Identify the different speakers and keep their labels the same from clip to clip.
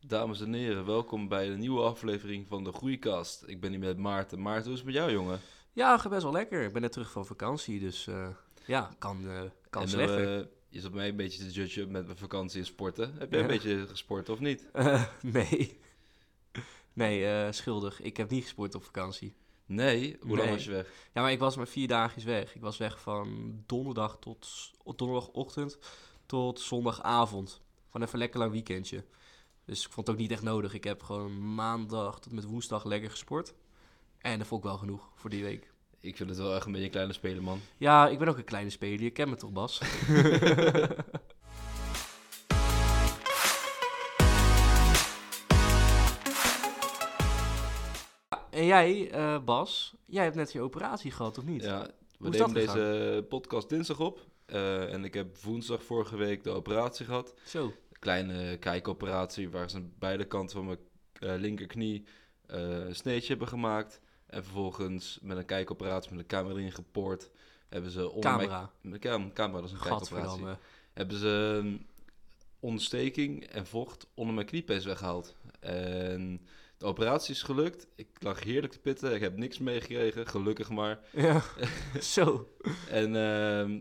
Speaker 1: Dames en heren, welkom bij de nieuwe aflevering van de Groeikast. Ik ben hier met Maarten. Maarten, hoe is het met jou, jongen?
Speaker 2: Ja, gaat best wel lekker. Ik ben net terug van vakantie, dus eh, ja, kan, eh kan
Speaker 1: En,
Speaker 2: slechter.
Speaker 1: eh, je zat mij een beetje te judgen met mijn vakantie en sporten. Heb jij een
Speaker 2: Ja.
Speaker 1: beetje gesport of niet?
Speaker 2: Eh, nee. Nee, eh, schuldig. Ik heb niet gesport op vakantie.
Speaker 1: Nee? Hoe lang
Speaker 2: Nee.
Speaker 1: was je weg?
Speaker 2: Ja, maar ik was maar vier dagjes weg. Ik was weg van donderdag tot s- donderdagochtend tot zondagavond. Gewoon even lekker lang weekendje. Dus ik vond het ook niet echt nodig. Ik heb gewoon maandag tot met woensdag lekker gesport. En dat vond ik wel genoeg voor die week.
Speaker 1: Ik vind het wel echt een beetje een kleine speler, man.
Speaker 2: Ja, ik ben ook een kleine speler. Je kent me toch, Bas? en jij, eh, Bas, jij hebt net je operatie gehad, of niet?
Speaker 1: Ja, we
Speaker 2: Hoe is
Speaker 1: nemen
Speaker 2: dat gegaan?
Speaker 1: deze podcast dinsdag op. eh, en ik heb woensdag vorige week de operatie gehad.
Speaker 2: Zo.
Speaker 1: kleine kijkoperatie waar ze aan beide kanten van mijn eh, linkerknie eh, een sneetje hebben gemaakt. En vervolgens met een kijkoperatie met een camera erin gepoord. Hebben ze onder mijn-
Speaker 2: Camera.
Speaker 1: Met een cam- camera, dat is een kijkoperatie.
Speaker 2: Gadverdamme.
Speaker 1: Hebben ze een ontsteking en vocht onder mijn kniepees weggehaald. En de operatie is gelukt. Ik lag heerlijk te pitten. Ik heb niks meegekregen, gelukkig maar.
Speaker 2: Ja. Zo.
Speaker 1: En ehm,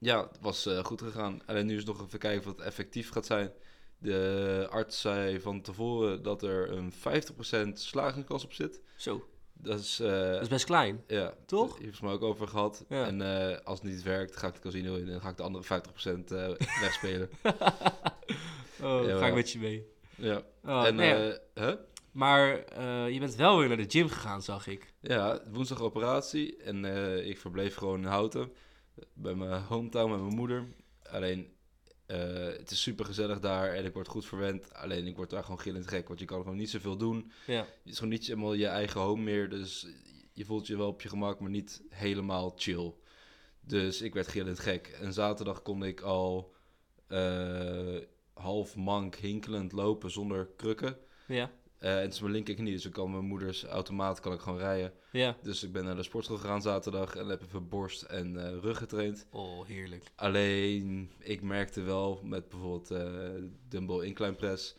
Speaker 1: ja, het was eh, goed gegaan. Alleen nu is nog even kijken of het effectief gaat zijn. De arts zei van tevoren dat er een 50% slagingskans op zit.
Speaker 2: Zo.
Speaker 1: Dat is,
Speaker 2: Dat
Speaker 1: eh
Speaker 2: is best klein.
Speaker 1: ja,
Speaker 2: toch?
Speaker 1: Hier hebben ze me ook over gehad.
Speaker 2: Ja.
Speaker 1: En eh, als het niet werkt, ga ik de casino in en ga ik de andere 50% eh, wegspelen. Ja,
Speaker 2: Oh, ga ik
Speaker 1: wel.
Speaker 2: met je mee.
Speaker 1: ja.
Speaker 2: Oh,
Speaker 1: en,
Speaker 2: nee,
Speaker 1: eh, hè?
Speaker 2: Maar eh, je bent wel weer naar de gym gegaan, zag ik.
Speaker 1: Ja, woensdag operatie en eh, ik verbleef gewoon in Houten bij mijn hometown met mijn moeder. Alleen, eh, het is super gezellig daar en ik word goed verwend. Alleen, ik word daar gewoon gillend gek, want je kan gewoon niet zoveel doen.
Speaker 2: Ja.
Speaker 1: Het is gewoon niet helemaal je eigen home meer, dus je voelt je wel op je gemak, maar niet helemaal chill. Dus ik werd gillend gek. En zaterdag kon ik al eh, half mank hinkelend lopen zonder krukken.
Speaker 2: Ja.
Speaker 1: Eh, en het is mijn linkerknie, dus ik kan mijn moeders automaat kan ik gewoon rijden.
Speaker 2: Ja.
Speaker 1: Dus ik ben naar de sportschool gegaan zaterdag en heb even borst en eh, rug getraind.
Speaker 2: Oh, heerlijk.
Speaker 1: Alleen, ik merkte wel met bijvoorbeeld eh dumbbell incline press,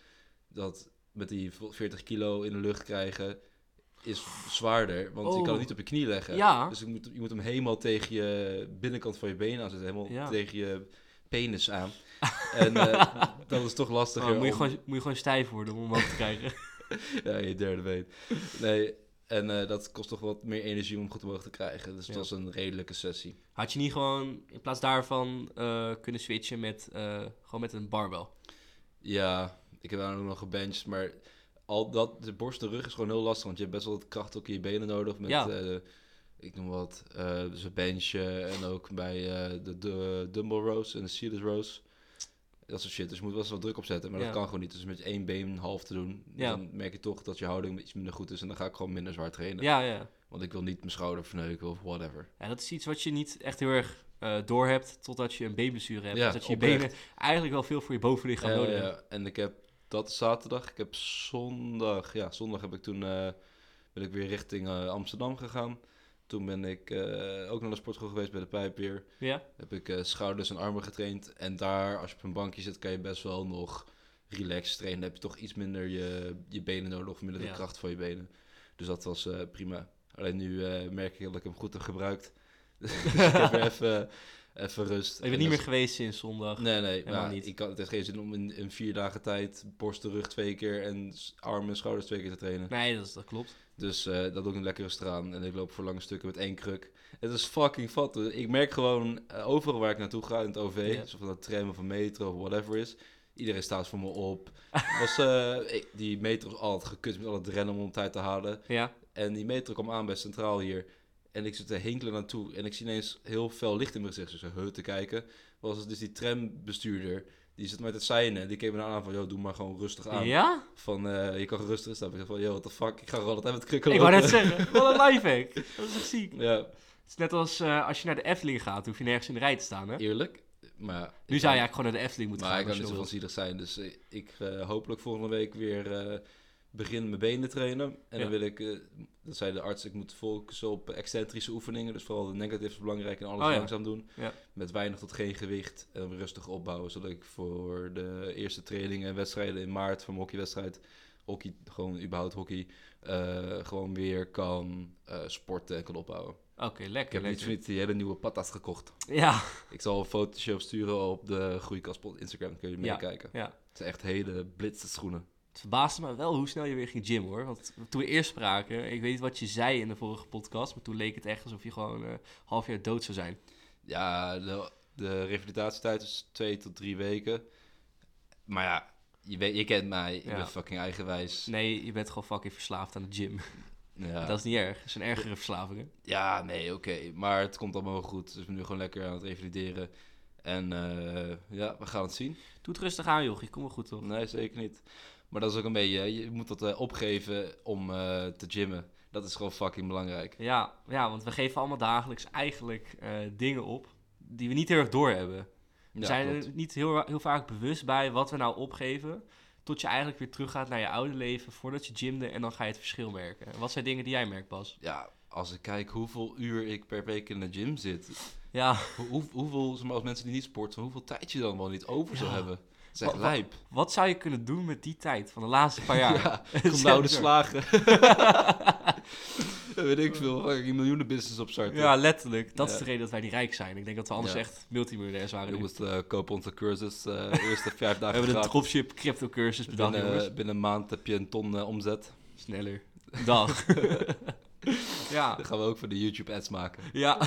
Speaker 1: dat met die 40 kilo in de lucht krijgen, is zwaarder. Want je kan
Speaker 2: Oh.
Speaker 1: het niet op je knie leggen.
Speaker 2: Ja.
Speaker 1: Dus je moet, je moet hem helemaal tegen je binnenkant van je benen aan zitten, helemaal
Speaker 2: Ja.
Speaker 1: tegen je penis aan. en eh, dat is toch lastiger.
Speaker 2: Oh, moet, je
Speaker 1: om-
Speaker 2: gewoon, moet je gewoon stijf worden om omhoog te krijgen.
Speaker 1: Ja, je derde been. Nee, en eh, dat kost toch wat meer energie om goed omhoog te krijgen. Dus het
Speaker 2: Ja.
Speaker 1: was een redelijke sessie.
Speaker 2: Had je niet gewoon in plaats daarvan eh, kunnen switchen met, eh, gewoon met een barbel?
Speaker 1: Ja, ik heb daar ook nog gebenched, maar al dat, de borst en rug is gewoon heel lastig, want je hebt best wel wat kracht ook in je benen nodig met,
Speaker 2: Ja.
Speaker 1: eh, ik noem wat, eh dus een benchen en ook bij eh, de, de dumbbell rows en de seated rows. Dat soort shit, dus je moet wel eens wat druk opzetten, maar
Speaker 2: Ja.
Speaker 1: dat kan gewoon niet. Dus met één been half te doen,
Speaker 2: Ja.
Speaker 1: dan merk je toch dat je houding iets minder goed is en dan ga ik gewoon minder zwaar trainen.
Speaker 2: Ja, ja.
Speaker 1: Want ik wil niet mijn schouder verneuken of whatever.
Speaker 2: ja. Dat is iets wat je niet echt heel erg door doorhebt totdat je een beenblessure hebt.
Speaker 1: Ja,
Speaker 2: Dus dat je je
Speaker 1: oprecht.
Speaker 2: benen eigenlijk wel veel voor je bovenlichaam
Speaker 1: Ja,
Speaker 2: nodig
Speaker 1: ja,
Speaker 2: hebt.
Speaker 1: Eh, en ik heb dat is zaterdag. Ik heb zondag, ja, zondag heb ik toen eh, ben ik weer richting eh, Amsterdam gegaan. Toen ben ik eh, ook naar de sportschool geweest bij de Pijpweer.
Speaker 2: Ja?
Speaker 1: Heb ik eh, schouders en armen getraind. En daar, als je op een bankje zit, kan je best wel nog relaxed trainen. Dan heb je toch iets minder je, je benen nodig of minder de
Speaker 2: Ja.
Speaker 1: kracht van je benen. Dus dat was eh, prima. Alleen nu eh, merk ik dat ik hem goed heb gebruikt. dus ik heb weer even, even rust.
Speaker 2: Ik
Speaker 1: En
Speaker 2: ben niet
Speaker 1: dat-
Speaker 2: meer geweest sinds zondag.
Speaker 1: Nee, nee,
Speaker 2: Helemaal
Speaker 1: maar
Speaker 2: niet.
Speaker 1: Ik kan, het heeft geen zin om in, in vier dagen tijd borst en rug twee keer en s- armen en schouders twee keer te trainen.
Speaker 2: Nee, dat, is- dat klopt.
Speaker 1: Dus eh, dat doe ik een lekkere straan en ik loop voor lange stukken met één kruk. Het is fucking fat. hoor. Ik merk gewoon eh, overal waar ik naartoe ga in het OV,
Speaker 2: Ja.
Speaker 1: of van dat tram of een metro of whatever is, iedereen staat voor me op. Het Was, eh, ik- die metro is altijd gekut met al het rennen om op tijd te halen.
Speaker 2: Ja.
Speaker 1: En die metro kwam aan bij Centraal hier. En ik zit te hinkelen naartoe. En ik zie ineens heel fel licht in mijn gezicht. Dus ik zat, "Huh," te kijken. Was het dus die trambestuurder. Die zit met het seinen. En die keek me nou aan van... Yo, doe maar gewoon rustig aan.
Speaker 2: Ja?
Speaker 1: Van, eh, je kan gewoon rustig staan. Ik zeg van, yo, what the fuck. Ik ga gewoon altijd met krukken
Speaker 2: Ik wou net
Speaker 1: lopen.
Speaker 2: zeggen, wat een lifehack. Dat is echt ziek.
Speaker 1: Ja,
Speaker 2: Het is net als eh, als je naar de Efteling gaat, hoef je nergens in de rij te staan, hè?
Speaker 1: eerlijk. Maar ja,
Speaker 2: Nu
Speaker 1: ik
Speaker 2: zou je
Speaker 1: kan-
Speaker 2: eigenlijk gewoon naar de Efteling moeten
Speaker 1: Maar ik
Speaker 2: gaan.
Speaker 1: kan
Speaker 2: als je
Speaker 1: niet zo van
Speaker 2: wil.
Speaker 1: zielig zijn. Dus eh, ik eh, hopelijk volgende week weer... eh, begin mijn benen trainen. En
Speaker 2: Ja.
Speaker 1: dan wil ik, eh, dat zei de arts, ik moet focussen op excentrische oefeningen. Dus vooral de negatives is belangrijk en alles
Speaker 2: Oh ja.
Speaker 1: langzaam doen.
Speaker 2: Ja.
Speaker 1: Met weinig tot geen gewicht en rustig opbouwen. Zodat ik voor de eerste trainingen en wedstrijden in maart van mijn hockeywedstrijd, hockey, gewoon überhaupt hockey, eh, gewoon weer kan eh, sporten en kan opbouwen.
Speaker 2: Oké,
Speaker 1: Ik
Speaker 2: lekker.
Speaker 1: heb niet voor
Speaker 2: lekker.
Speaker 1: niets die hele nieuwe patas gekocht.
Speaker 2: Ja,
Speaker 1: Ik zal een fotootje sturen op de Groeikast pod- Instagram, dan kun je
Speaker 2: Ja.
Speaker 1: meekijken.
Speaker 2: ja.
Speaker 1: Het zijn echt hele blitse schoenen.
Speaker 2: Het verbaasde me wel hoe snel je weer ging gym hoor. Want toen we eerst spraken, ik weet niet wat je zei in de vorige podcast, maar toen leek het echt alsof je gewoon eh, een half jaar dood zou zijn.
Speaker 1: Ja, de, de revalidatietijd is twee tot drie weken. Maar ja, je, weet, je kent mij. Ik
Speaker 2: Ja.
Speaker 1: ben fucking eigenwijs.
Speaker 2: Nee, je bent gewoon fucking verslaafd aan de gym.
Speaker 1: Ja.
Speaker 2: Dat is niet erg. Dat zijn ergere verslavingen.
Speaker 1: ja, nee, oké. Maar het komt allemaal wel goed. Dus ik ben nu gewoon lekker aan het revalideren. En eh, ja, we gaan het zien.
Speaker 2: Doe het rustig aan, joh. Je komt wel goed, toch?
Speaker 1: Nee, zeker niet. Maar dat is ook een beetje... hè, Je moet dat eh, opgeven om eh, te gymmen. Dat is gewoon fucking belangrijk.
Speaker 2: Ja, ja, want we geven allemaal dagelijks eigenlijk eh, dingen op die we niet heel erg doorhebben. We
Speaker 1: Ja,
Speaker 2: zijn
Speaker 1: klopt.
Speaker 2: er niet heel, heel vaak bewust bij wat we nou opgeven. Tot je eigenlijk weer teruggaat naar je oude leven voordat je gymde en dan ga je het verschil merken. En Wat zijn dingen die jij merkt, Bas?
Speaker 1: Ja, als ik kijk hoeveel uur ik per week in de gym zit.
Speaker 2: Ja,
Speaker 1: Hoe, hoe- hoeveel, zeg maar, als mensen die niet sporten, hoeveel tijd je dan wel niet over zou
Speaker 2: Ja.
Speaker 1: hebben. Dat is echt
Speaker 2: Wa- wa-
Speaker 1: lijp.
Speaker 2: wat zou je kunnen doen met die tijd van de laatste paar jaar?
Speaker 1: Ja,
Speaker 2: Zet
Speaker 1: kom nou de
Speaker 2: door.
Speaker 1: slagen. Dat weet ik veel. Fucking een miljoenen business opstarten.
Speaker 2: Ja, letterlijk. Dat is
Speaker 1: Ja.
Speaker 2: de reden dat wij niet rijk zijn. Ik denk dat we anders
Speaker 1: Ja.
Speaker 2: echt multimiljonairs waren. nu.
Speaker 1: Jongens, eh, koop onze cursus. eh, de eerste vijf
Speaker 2: We
Speaker 1: dagen
Speaker 2: hebben de
Speaker 1: gratis.
Speaker 2: dropship crypto cursus bedacht,
Speaker 1: binnen, eh,
Speaker 2: jongens.
Speaker 1: binnen een maand heb je een ton eh, omzet.
Speaker 2: Sneller. Dag. ja.
Speaker 1: Dan gaan we ook voor de YouTube ads maken.
Speaker 2: Ja.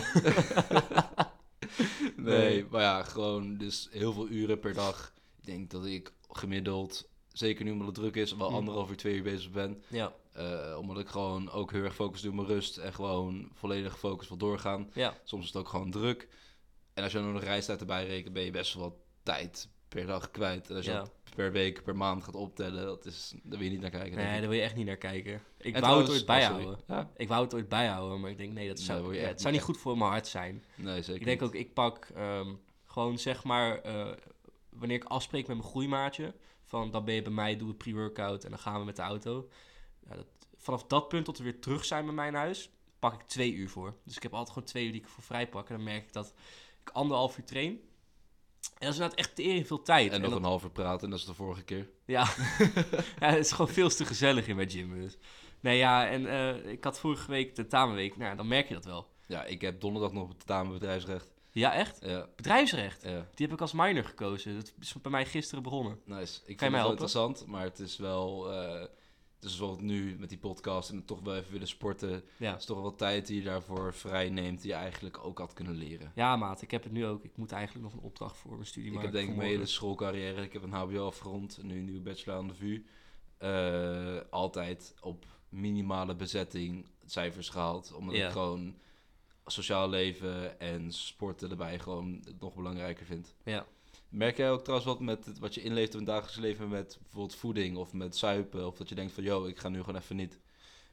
Speaker 1: Nee, maar ja, gewoon dus heel veel uren per dag. Ik denk dat ik gemiddeld, zeker nu omdat het druk is, wel
Speaker 2: Mm.
Speaker 1: anderhalf uur, twee uur bezig ben.
Speaker 2: Ja.
Speaker 1: Eh, omdat ik gewoon ook heel erg focus doe op mijn rust en gewoon volledig focus wil doorgaan.
Speaker 2: Ja.
Speaker 1: Soms is het ook gewoon druk. En als je dan nog een reistijd erbij rekent, ben je best wel wat tijd per dag kwijt. En als je
Speaker 2: Ja.
Speaker 1: dat per week, per maand gaat optellen, dat is, daar wil je niet naar kijken. denk
Speaker 2: Nee,
Speaker 1: ik.
Speaker 2: daar wil je echt niet naar kijken. Ik
Speaker 1: En
Speaker 2: wou
Speaker 1: trouwens-
Speaker 2: het ooit
Speaker 1: oh, sorry.
Speaker 2: bijhouden.
Speaker 1: Ja?
Speaker 2: Ik wou het ooit bijhouden, maar ik denk nee, dat
Speaker 1: Nee,
Speaker 2: zou,
Speaker 1: wil je
Speaker 2: ja,
Speaker 1: echt
Speaker 2: het zou niet
Speaker 1: niet.
Speaker 2: goed voor mijn hart zijn.
Speaker 1: Nee, zeker
Speaker 2: Ik denk
Speaker 1: niet.
Speaker 2: ook, ik pak ehm, gewoon zeg maar, eh, wanneer ik afspreek met mijn groeimaatje, van dan ben je bij mij, doe het pre-workout en dan gaan we met de auto. Ja, dat, vanaf dat punt tot we weer terug zijn bij mijn huis, pak ik twee uur voor. Dus ik heb altijd gewoon twee uur die ik voor vrij pak. En dan merk ik dat ik anderhalf uur train. En dat is inderdaad echt tering veel tijd.
Speaker 1: En nog
Speaker 2: dat-
Speaker 1: een half uur praten, en dat is de vorige keer.
Speaker 2: ja. ja, het is gewoon veel te gezellig in mijn gym. Dus. Nee, ja, en eh, ik had vorige week tentamenweek. Nou, dan merk je dat wel.
Speaker 1: Ja, ik heb donderdag nog tentamen bedrijfsrecht.
Speaker 2: Ja, echt?
Speaker 1: Ja,
Speaker 2: Bedrijfsrecht.
Speaker 1: ja.
Speaker 2: Die heb ik als minor gekozen. Dat is bij mij gisteren begonnen.
Speaker 1: Nice. Ik
Speaker 2: mij
Speaker 1: vind het wel
Speaker 2: helpen?
Speaker 1: interessant, maar het is wel... eh dus zoals nu met die podcast en toch wel even willen sporten.
Speaker 2: Ja.
Speaker 1: Dat is toch wel tijd die je daarvoor vrij neemt, die je eigenlijk ook had kunnen leren.
Speaker 2: Ja, maat, ik heb het nu ook. Ik moet eigenlijk nog een opdracht voor mijn studie
Speaker 1: ik
Speaker 2: maken.
Speaker 1: heb denk ik mijn
Speaker 2: vanmorgen.
Speaker 1: hele schoolcarrière, ik heb een hbo afgerond, en nu een nieuwe bachelor aan de VU. eh, altijd op minimale bezetting cijfers gehaald, omdat
Speaker 2: Ja.
Speaker 1: ik gewoon sociaal leven en sporten erbij gewoon het nog belangrijker vind.
Speaker 2: Ja.
Speaker 1: Merk jij ook trouwens wat met het- wat je inleeft in het dagelijks leven met bijvoorbeeld voeding of met zuipen? Of dat je denkt van, yo, ik ga nu gewoon even niet.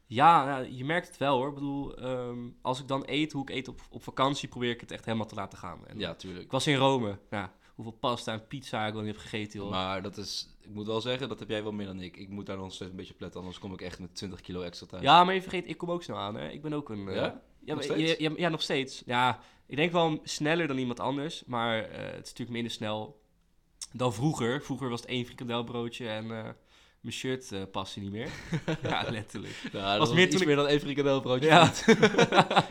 Speaker 2: Ja, nou, je merkt het wel hoor. Ik bedoel, ehm, als ik dan eet, hoe ik eet op, op vakantie, probeer ik het echt helemaal te laten gaan. En
Speaker 1: Ja, tuurlijk.
Speaker 2: Ik was in Rome. Nou, hoeveel pasta en pizza ik wel niet heb gegeten, joh.
Speaker 1: Maar dat is, ik moet wel zeggen, dat heb jij wel meer dan ik. Ik moet daar nog steeds een beetje pletten, anders kom ik echt met 20 kilo extra thuis.
Speaker 2: Ja, maar je vergeet, ik kom ook snel aan. Hè? Ik ben ook een. eh,
Speaker 1: Ja?
Speaker 2: Ja,
Speaker 1: Nog
Speaker 2: maar- ja,
Speaker 1: steeds?
Speaker 2: ja, ja, nog steeds. Ja, ik denk wel sneller dan iemand anders, maar eh, het is natuurlijk minder snel dan vroeger. Vroeger was het één frikandelbroodje en eh, mijn shirt eh paste niet meer. ja, letterlijk.
Speaker 1: Ja, dat
Speaker 2: was
Speaker 1: was
Speaker 2: meer
Speaker 1: iets
Speaker 2: toen ik-
Speaker 1: meer dan één frikandelbroodje.
Speaker 2: Ja.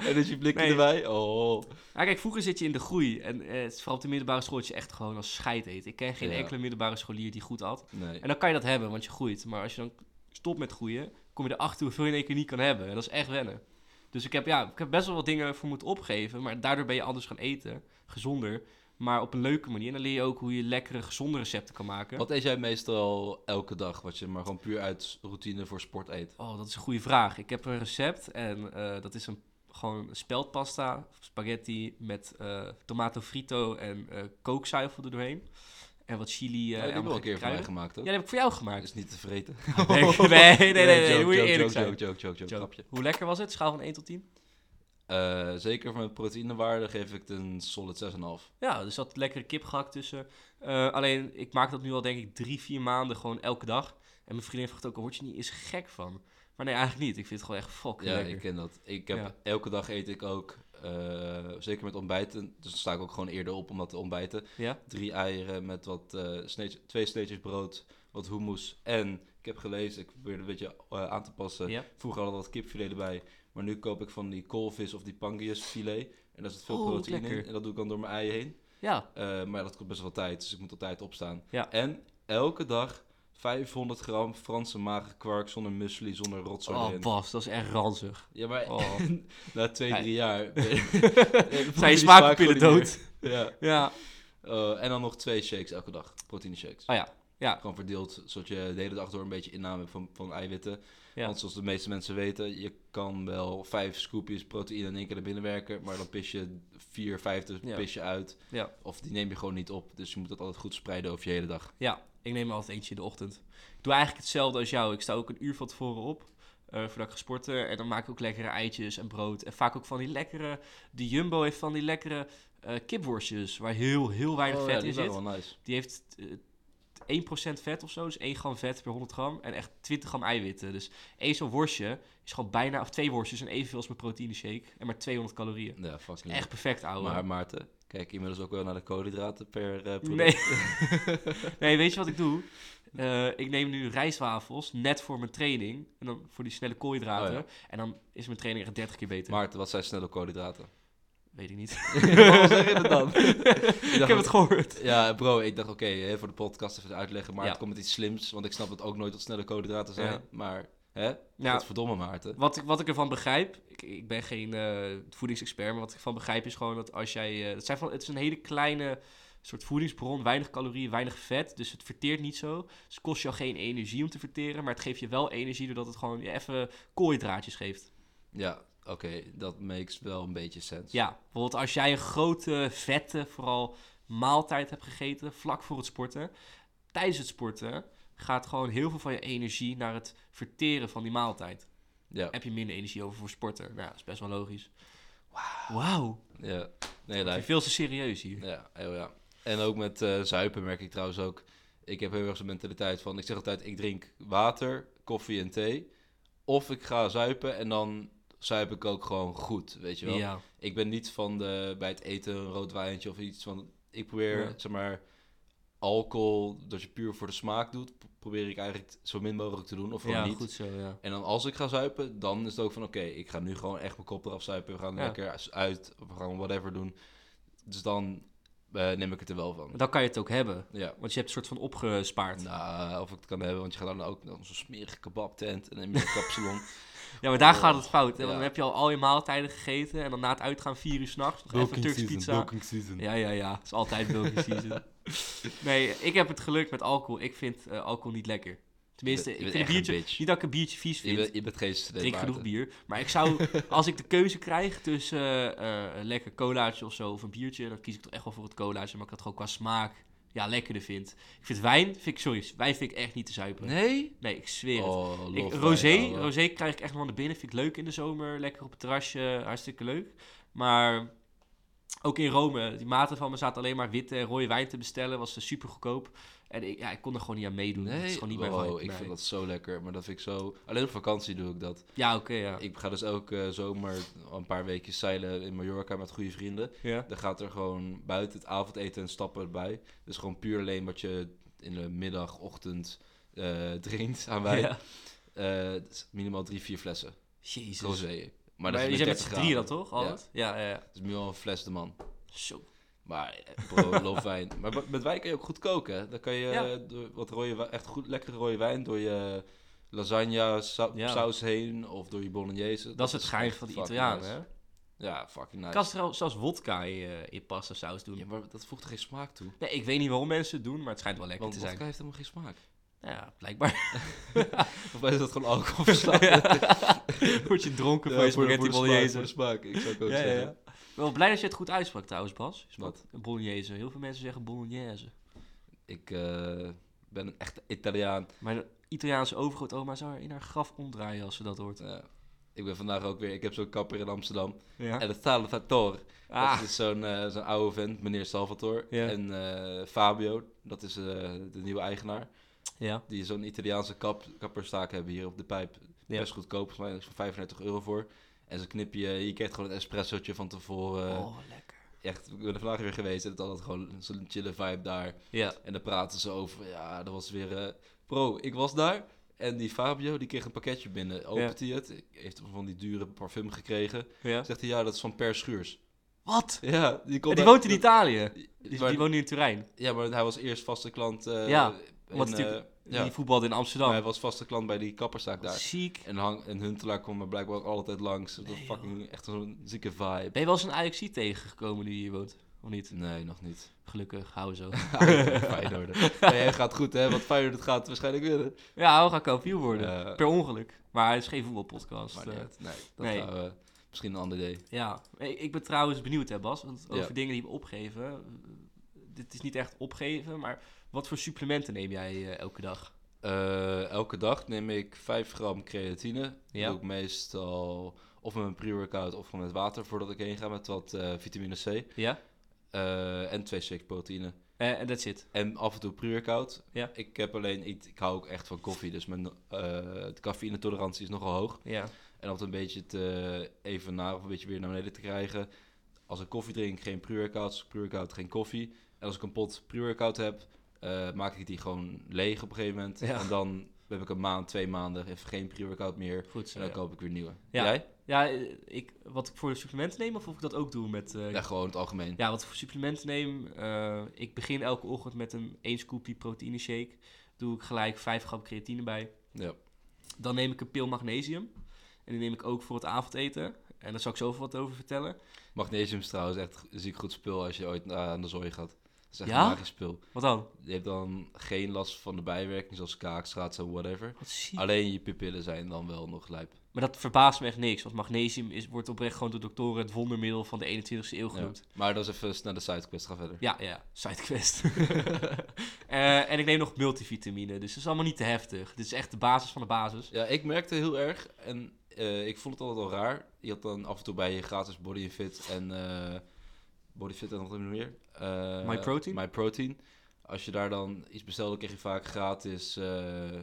Speaker 1: en dus je blikje
Speaker 2: Nee.
Speaker 1: erbij. Oh.
Speaker 2: Ja, kijk, vroeger zit je in de groei en eh, het is vooral op de middelbare school dat je echt gewoon als scheid eet. Ik ken geen
Speaker 1: Ja.
Speaker 2: enkele middelbare scholier die goed at.
Speaker 1: Nee.
Speaker 2: En dan kan je dat hebben, want je groeit. Maar als je dan stopt met groeien, kom je erachter hoeveel je in één keer niet kan hebben. En dat is echt wennen. Dus ik heb, ja, ik heb best wel wat dingen voor moeten opgeven. Maar daardoor ben je anders gaan eten. Gezonder. Maar op een leuke manier. En dan leer je ook hoe je lekkere, gezonde recepten kan maken.
Speaker 1: Wat eet jij meestal elke dag? Wat je maar gewoon puur uit routine voor sport eet?
Speaker 2: Oh, dat is een goede vraag. Ik heb een recept. En eh, dat is een, gewoon speldpasta. Spaghetti met eh tomato frito en eh kookzuivel erdoorheen. En wat chili. eh,
Speaker 1: Ja, Oh, die heb
Speaker 2: en
Speaker 1: ik
Speaker 2: wat
Speaker 1: wel een keer voor mij
Speaker 2: kruiden.
Speaker 1: gemaakt,
Speaker 2: Ja,
Speaker 1: hoor.
Speaker 2: die heb ik voor jou
Speaker 1: Dat
Speaker 2: gemaakt.
Speaker 1: is niet te vreten.
Speaker 2: Nee, nee, nee, nee. nee,
Speaker 1: joke,
Speaker 2: moet je
Speaker 1: joke,
Speaker 2: eerlijk
Speaker 1: joke,
Speaker 2: zijn.
Speaker 1: Joke, joke, joke, joke,
Speaker 2: Joe,
Speaker 1: grapje.
Speaker 2: Hoe lekker was het? Schaal van 1 tot 10?
Speaker 1: Eh, zeker voor mijn proteïnewaarde geef ik het een solid 6,5.
Speaker 2: Ja, er zat lekkere kipgehakt tussen. Eh, alleen, ik maak dat nu al denk ik drie, vier maanden gewoon elke dag. En mijn vriendin vraagt ook, word je niet eens gek van? Maar nee, eigenlijk niet. Ik vind het gewoon echt fucking
Speaker 1: Ja,
Speaker 2: lekker.
Speaker 1: ik ken dat. Ik heb,
Speaker 2: Ja.
Speaker 1: Elke dag eet ik ook, eh, zeker met ontbijten, dus dan sta ik ook gewoon eerder op om dat te ontbijten.
Speaker 2: Ja?
Speaker 1: Drie eieren met wat, eh, sneetjes- twee sneetjes brood, wat hummus. En ik heb gelezen, ik probeer het een beetje eh, aan te passen.
Speaker 2: Ja.
Speaker 1: Vroeger hadden we wat kipfilet erbij, maar nu koop ik van die koolvis of die pangiusfilet. En daar zit veel
Speaker 2: Oh, wat
Speaker 1: proteïne in
Speaker 2: lekker.
Speaker 1: en dat doe ik dan door mijn ei heen.
Speaker 2: Ja.
Speaker 1: Eh, maar dat kost best wel tijd, dus ik moet op tijd opstaan.
Speaker 2: Ja.
Speaker 1: En elke dag 500 gram Franse magerkwark zonder muesli, zonder rotzooi
Speaker 2: Oh,
Speaker 1: erin.
Speaker 2: Bas, dat is echt ranzig.
Speaker 1: Ja, maar
Speaker 2: Oh.
Speaker 1: na twee,
Speaker 2: Ja.
Speaker 1: drie jaar...
Speaker 2: Zijn
Speaker 1: Zijn
Speaker 2: je smaakpillen dood?
Speaker 1: Ja.
Speaker 2: Ja.
Speaker 1: Eh, en dan nog twee shakes elke dag, proteïne shakes.
Speaker 2: Oh ja. Ja.
Speaker 1: Gewoon verdeeld, zodat je de hele dag door een beetje inname hebt van, van eiwitten.
Speaker 2: Ja.
Speaker 1: Want zoals de meeste mensen weten, je kan wel vijf scoopjes proteïne in één keer naar binnen werken. Maar dan pis je vier, vijftig
Speaker 2: Ja.
Speaker 1: pis je uit.
Speaker 2: Ja.
Speaker 1: Of die neem je gewoon niet op. Dus je moet dat altijd goed spreiden over je hele dag.
Speaker 2: Ja, ik neem altijd eentje in de ochtend. Ik doe eigenlijk hetzelfde als jou. Ik sta ook een uur van tevoren op. eh, voordat ik ga sporten. En dan maak ik ook lekkere eitjes en brood. En vaak ook van die lekkere... Die Jumbo heeft van die lekkere eh, kipworstjes. Waar heel, heel weinig
Speaker 1: Oh, ja,
Speaker 2: vet
Speaker 1: die
Speaker 2: in
Speaker 1: is ook
Speaker 2: zit.
Speaker 1: wel nice.
Speaker 2: Die heeft eh, 1% vet of zo. Dus 1 gram vet per 100 gram. En echt 20 gram eiwitten. Dus één zo'n worstje is gewoon bijna... Of twee worstjes en evenveel als mijn proteïne shake. En maar 200 calorieën.
Speaker 1: Ja, fucking
Speaker 2: Echt perfect, ouwe.
Speaker 1: Maar Maarten, kijk inmiddels ook wel naar de koolhydraten per eh product.
Speaker 2: Nee. nee, weet je wat ik doe? Eh, ik neem nu rijstwafels, net voor mijn training. En dan voor die snelle koolhydraten.
Speaker 1: Oh
Speaker 2: En dan is mijn training echt 30 keer beter.
Speaker 1: Maarten, wat zijn snelle koolhydraten?
Speaker 2: Weet ik niet.
Speaker 1: Waarom zeg je dat dan?
Speaker 2: ik heb het gehoord.
Speaker 1: Ja, bro, ik dacht oké, hè, voor de podcast even uitleggen. Maar
Speaker 2: Ja.
Speaker 1: het komt met iets slims, want ik snap het ook nooit wat snelle koolhydraten zijn.
Speaker 2: Ja.
Speaker 1: Maar, hè?
Speaker 2: Nou,
Speaker 1: Godverdomme, Maarten.
Speaker 2: wat ik, wat ik ervan begrijp, ik, ik ben geen eh, voedingsexpert, maar wat ik van begrijp is gewoon dat als jij... eh, het, zijn van, het is een hele kleine soort voedingsbron, weinig calorieën, weinig vet. Dus het verteert niet zo. Dus het kost jou geen energie om te verteren, maar het geeft je wel energie doordat het gewoon je even koolhydraatjes geeft.
Speaker 1: Ja, oké, dat makes wel een beetje sens.
Speaker 2: Ja, bijvoorbeeld als jij een grote, vette, vooral maaltijd hebt gegeten vlak voor het sporten. Tijdens het sporten gaat gewoon heel veel van je energie naar het verteren van die maaltijd.
Speaker 1: Ja,
Speaker 2: Heb je minder energie over voor sporten? Nou, dat is best wel logisch. Wauw.
Speaker 1: ja. Nee,
Speaker 2: Wow.
Speaker 1: lijkt.
Speaker 2: Veel te serieus hier.
Speaker 1: Ja, heel ja. En ook met eh, zuipen merk ik trouwens ook. Ik heb heel erg zo'n mentaliteit van, ik zeg altijd, ik drink water, koffie en thee. Of ik ga zuipen en dan zuip ik ook gewoon goed, weet je wel.
Speaker 2: Ja,
Speaker 1: Ik ben niet van de, bij het eten een rood wijntje of iets. Van, ik probeer,
Speaker 2: Ja.
Speaker 1: zeg maar, alcohol, dat je puur voor de smaak doet, pro- probeer ik eigenlijk zo min mogelijk te doen. Of gewoon
Speaker 2: ja
Speaker 1: niet.
Speaker 2: goed zo, ja.
Speaker 1: En dan als ik ga zuipen, dan is het ook van oké, ik ga nu gewoon echt mijn kop eraf zuipen. We gaan
Speaker 2: Ja.
Speaker 1: lekker uit, we gaan whatever doen. Dus dan eh, neem ik het er wel van.
Speaker 2: Dan kan je het ook hebben.
Speaker 1: Ja.
Speaker 2: Want je hebt het soort van opgespaard.
Speaker 1: Nou, of ik het kan hebben, want je gaat dan ook naar zo'n smerige kebabtent en dan heb je een kapsalon.
Speaker 2: ja, maar daar
Speaker 1: oh,
Speaker 2: gaat het fout. hè, Want
Speaker 1: ja.
Speaker 2: dan heb je al al je maaltijden gegeten. En dan na het uitgaan vier uur s'nachts nog even Turks pizza. Ja, ja, ja. Het is altijd bulky season. Nee, ik heb het geluk met alcohol. Ik vind eh, alcohol niet lekker. Tenminste,
Speaker 1: Je
Speaker 2: ik
Speaker 1: bent
Speaker 2: vind een
Speaker 1: echt een
Speaker 2: biertje...
Speaker 1: bitch.
Speaker 2: Niet dat ik een biertje vies
Speaker 1: Je,
Speaker 2: vind.
Speaker 1: bent- je bent geen
Speaker 2: ik
Speaker 1: student,
Speaker 2: drink genoeg
Speaker 1: Maarten.
Speaker 2: bier. Maar ik zou, als ik de keuze krijg tussen eh, eh, een lekker colaatje of zo of een biertje, dan kies ik toch echt wel voor het colaatje. Maar ik dat gewoon qua smaak ja, lekkerder vind. Ik vind wijn, vind ik, sorry, wijn vind ik echt niet te zuipen. Nee,
Speaker 1: Nee?
Speaker 2: ik zweer het.
Speaker 1: Oh,
Speaker 2: Ik-
Speaker 1: love
Speaker 2: rosé,
Speaker 1: wijn, ouwe.
Speaker 2: rosé krijg ik echt wel naar binnen. Vind ik leuk in de zomer. Lekker op het terrasje. Hartstikke leuk. Maar ook in Rome. Die maten van me zaten alleen maar witte en rode wijn te bestellen. Was super goedkoop. En ik, ja, ik kon er gewoon niet aan meedoen.
Speaker 1: Nee,
Speaker 2: Het is gewoon niet mijn
Speaker 1: wow,
Speaker 2: vibe.
Speaker 1: ik
Speaker 2: Nee.
Speaker 1: vind dat zo lekker. Maar dat vind ik zo... Alleen op vakantie doe ik dat.
Speaker 2: Ja, oké, ja.
Speaker 1: Ik ga dus elke zomer een paar weken zeilen in Mallorca met goede vrienden.
Speaker 2: ja.
Speaker 1: Dan gaat er gewoon buiten het avondeten en stappen erbij. Dus gewoon puur alleen wat je in de middag, ochtend eh, drinkt aan wijn.
Speaker 2: Ja.
Speaker 1: Eh, het is minimaal drie, vier flessen.
Speaker 2: Jezus.
Speaker 1: Rosé. Maar
Speaker 2: Maar,
Speaker 1: dat
Speaker 2: je
Speaker 1: is
Speaker 2: bent
Speaker 1: met
Speaker 2: met
Speaker 1: 30
Speaker 2: z'n drieën dan
Speaker 1: graden.
Speaker 2: toch? Altijd? Ja. Ja, ja,
Speaker 1: Dat is minimaal een fles de man.
Speaker 2: Zo.
Speaker 1: Maar eh, bro, love wijn. Maar b- met wijn kan je ook goed koken. hè. Dan kan je
Speaker 2: Ja.
Speaker 1: eh, door wat rode, wi- echt goed lekkere rode wijn door je lasagne sau-
Speaker 2: Ja.
Speaker 1: saus heen of door je bolognese.
Speaker 2: Dat is het geheim
Speaker 1: echt
Speaker 2: van de
Speaker 1: fucking
Speaker 2: Italianen,
Speaker 1: nice.
Speaker 2: hè?
Speaker 1: Ja, fucking nice.
Speaker 2: Ik kan trouwens zelfs wodka in, eh, in pasta saus doen.
Speaker 1: Ja, maar dat voegt er geen smaak toe.
Speaker 2: Nee, ik weet niet waarom mensen het doen, maar het schijnt wel lekker
Speaker 1: Want
Speaker 2: te zijn.
Speaker 1: vodka heeft helemaal geen smaak.
Speaker 2: Ja, blijkbaar.
Speaker 1: Of is dat gewoon alcohol verslaafd?
Speaker 2: Word je dronken van
Speaker 1: voor
Speaker 2: je
Speaker 1: de- voor de
Speaker 2: spaghetti
Speaker 1: smaak,
Speaker 2: bolognese.
Speaker 1: Voor de smaak, ik zou het ook
Speaker 2: Ja, ja,
Speaker 1: zeggen.
Speaker 2: ja. Wel blij dat je het goed uitsprak trouwens, Bas.
Speaker 1: Wat?
Speaker 2: Bolognese. Heel veel mensen zeggen bolognese.
Speaker 1: Ik eh, ben een echte Italiaan.
Speaker 2: Mijn Italiaanse overgrootoma zou er in haar graf omdraaien als ze dat hoort.
Speaker 1: Ja. Eh, ik ben vandaag ook weer, ik heb zo'n kapper in Amsterdam.
Speaker 2: Ja.
Speaker 1: En het Salvatore,
Speaker 2: Ah,
Speaker 1: dat is zo'n eh, zo'n oude vent, meneer Salvatore.
Speaker 2: Ja.
Speaker 1: En eh, Fabio, dat is eh, de nieuwe eigenaar.
Speaker 2: Ja.
Speaker 1: Die zo'n Italiaanse kap, kapperstaak hebben hier op de pijp.
Speaker 2: Ja.
Speaker 1: Best goedkoop, volgens mij is er voor 35 euro voor. En ze knip je, je krijgt gewoon een espressotje van tevoren.
Speaker 2: oh, lekker.
Speaker 1: Echt, ik ben er vandaag weer geweest en het had altijd gewoon zo'n chille vibe daar.
Speaker 2: Ja.
Speaker 1: En dan praten ze over, ja, dat was weer... eh, bro, ik was daar en die Fabio, die kreeg een pakketje binnen. Opent hij het, heeft van die dure parfum gekregen.
Speaker 2: ja.
Speaker 1: Zegt hij, ja, dat is van Per Schuurs.
Speaker 2: Wat?
Speaker 1: Ja, die, kon
Speaker 2: En die
Speaker 1: daar-
Speaker 2: woont in Italië. Die,
Speaker 1: maar-
Speaker 2: die woont nu in Turijn.
Speaker 1: Ja, maar hij was eerst vaste klant. eh,
Speaker 2: Ja,
Speaker 1: in,
Speaker 2: want natuurlijk-
Speaker 1: eh, ja,
Speaker 2: Die voetbalde in
Speaker 1: maar
Speaker 2: Amsterdam.
Speaker 1: hij was vaste klant bij die kapperzaak
Speaker 2: Wat
Speaker 1: daar.
Speaker 2: Ziek.
Speaker 1: En, hang, en Huntelaar kwam er blijkbaar ook altijd langs. Dat
Speaker 2: Nee,
Speaker 1: fucking echt zo'n zieke vibe.
Speaker 2: Ben je wel eens een Ajaxie tegengekomen die hier woont? Of niet?
Speaker 1: Nee, nog niet.
Speaker 2: Gelukkig, hou zo.
Speaker 1: Feyenoord. Nee, hij gaat goed hè, want Feyenoord het gaat waarschijnlijk winnen.
Speaker 2: ja, we gaan kampioen worden.
Speaker 1: Eh,
Speaker 2: per ongeluk. Maar het is geen voetbalpodcast.
Speaker 1: maar
Speaker 2: eh.
Speaker 1: niet uit. nee, dat
Speaker 2: nee.
Speaker 1: gaan we- misschien een ander idee.
Speaker 2: Ja, Hey, ik ben trouwens benieuwd hè Bas, want
Speaker 1: Ja.
Speaker 2: over dingen die we opgeven. eh, Dit is niet echt opgeven, maar wat voor supplementen neem jij eh, elke dag?
Speaker 1: Eh, elke dag neem ik 5 gram creatine.
Speaker 2: Ja.
Speaker 1: Dat doe ik meestal of met een pre-workout of gewoon met water voordat ik heen ga met wat eh, vitamine C.
Speaker 2: Ja?
Speaker 1: Eh, en 2 shake proteïne.
Speaker 2: Eh, En dat zit.
Speaker 1: En af en toe pre-workout.
Speaker 2: Ja.
Speaker 1: Ik heb alleen, ik, ik hou ook echt van koffie, dus mijn eh de cafeïnetolerantie is nogal hoog.
Speaker 2: Ja.
Speaker 1: En om het een beetje te even naar of een beetje weer naar beneden te krijgen. Als ik koffie drink, geen pre-workout. Als ik pre-workout, geen koffie. En als ik een pot pre-workout heb, eh, maak ik die gewoon leeg op een gegeven moment.
Speaker 2: Ja.
Speaker 1: En dan heb ik een maand, twee maanden, even geen pre-workout meer.
Speaker 2: Goed
Speaker 1: En
Speaker 2: zo.
Speaker 1: dan
Speaker 2: Ja,
Speaker 1: koop ik weer nieuwe.
Speaker 2: Ja.
Speaker 1: Jij?
Speaker 2: Ja, eh, ik, wat ik voor supplementen neem of of ik dat ook doe met... eh,
Speaker 1: Ja, gewoon het algemeen.
Speaker 2: Ja, wat ik voor supplementen neem. eh, ik begin elke ochtend met een 1 scoopje proteïne shake. Doe ik gelijk 5 gram creatine bij.
Speaker 1: Ja.
Speaker 2: Dan neem ik een pil magnesium. En die neem ik ook voor het avondeten. En daar zal ik zoveel wat over vertellen.
Speaker 1: Magnesium is trouwens echt een ziek goed spul als je ooit na- aan de zooi gaat. Dat is echt
Speaker 2: Ja?
Speaker 1: een magisch spul.
Speaker 2: Wat dan?
Speaker 1: Je hebt dan geen last van de bijwerking zoals kaakstraat en whatever.
Speaker 2: Wat ziek.
Speaker 1: Alleen je pupillen zijn dan wel nog lijp.
Speaker 2: Maar dat verbaast me echt niks. Want magnesium is, wordt oprecht gewoon door doktoren het wondermiddel van de 21ste eeuw
Speaker 1: Ja.
Speaker 2: genoemd.
Speaker 1: Maar dat is even snel de sidequest. Ga verder.
Speaker 2: Ja, ja, sidequest. Eh, en ik neem nog multivitamine. Dus dat is allemaal niet te heftig. Dit is echt de basis van de basis.
Speaker 1: Ja, ik merkte heel erg en eh, ik vond het altijd al raar. Je had dan af en toe bij je gratis Body Fit en eh, Body Fit en wat heb je nog meer? Eh,
Speaker 2: MyProtein?
Speaker 1: MyProtein. Als je daar dan iets bestelde, kreeg je vaak gratis, eh,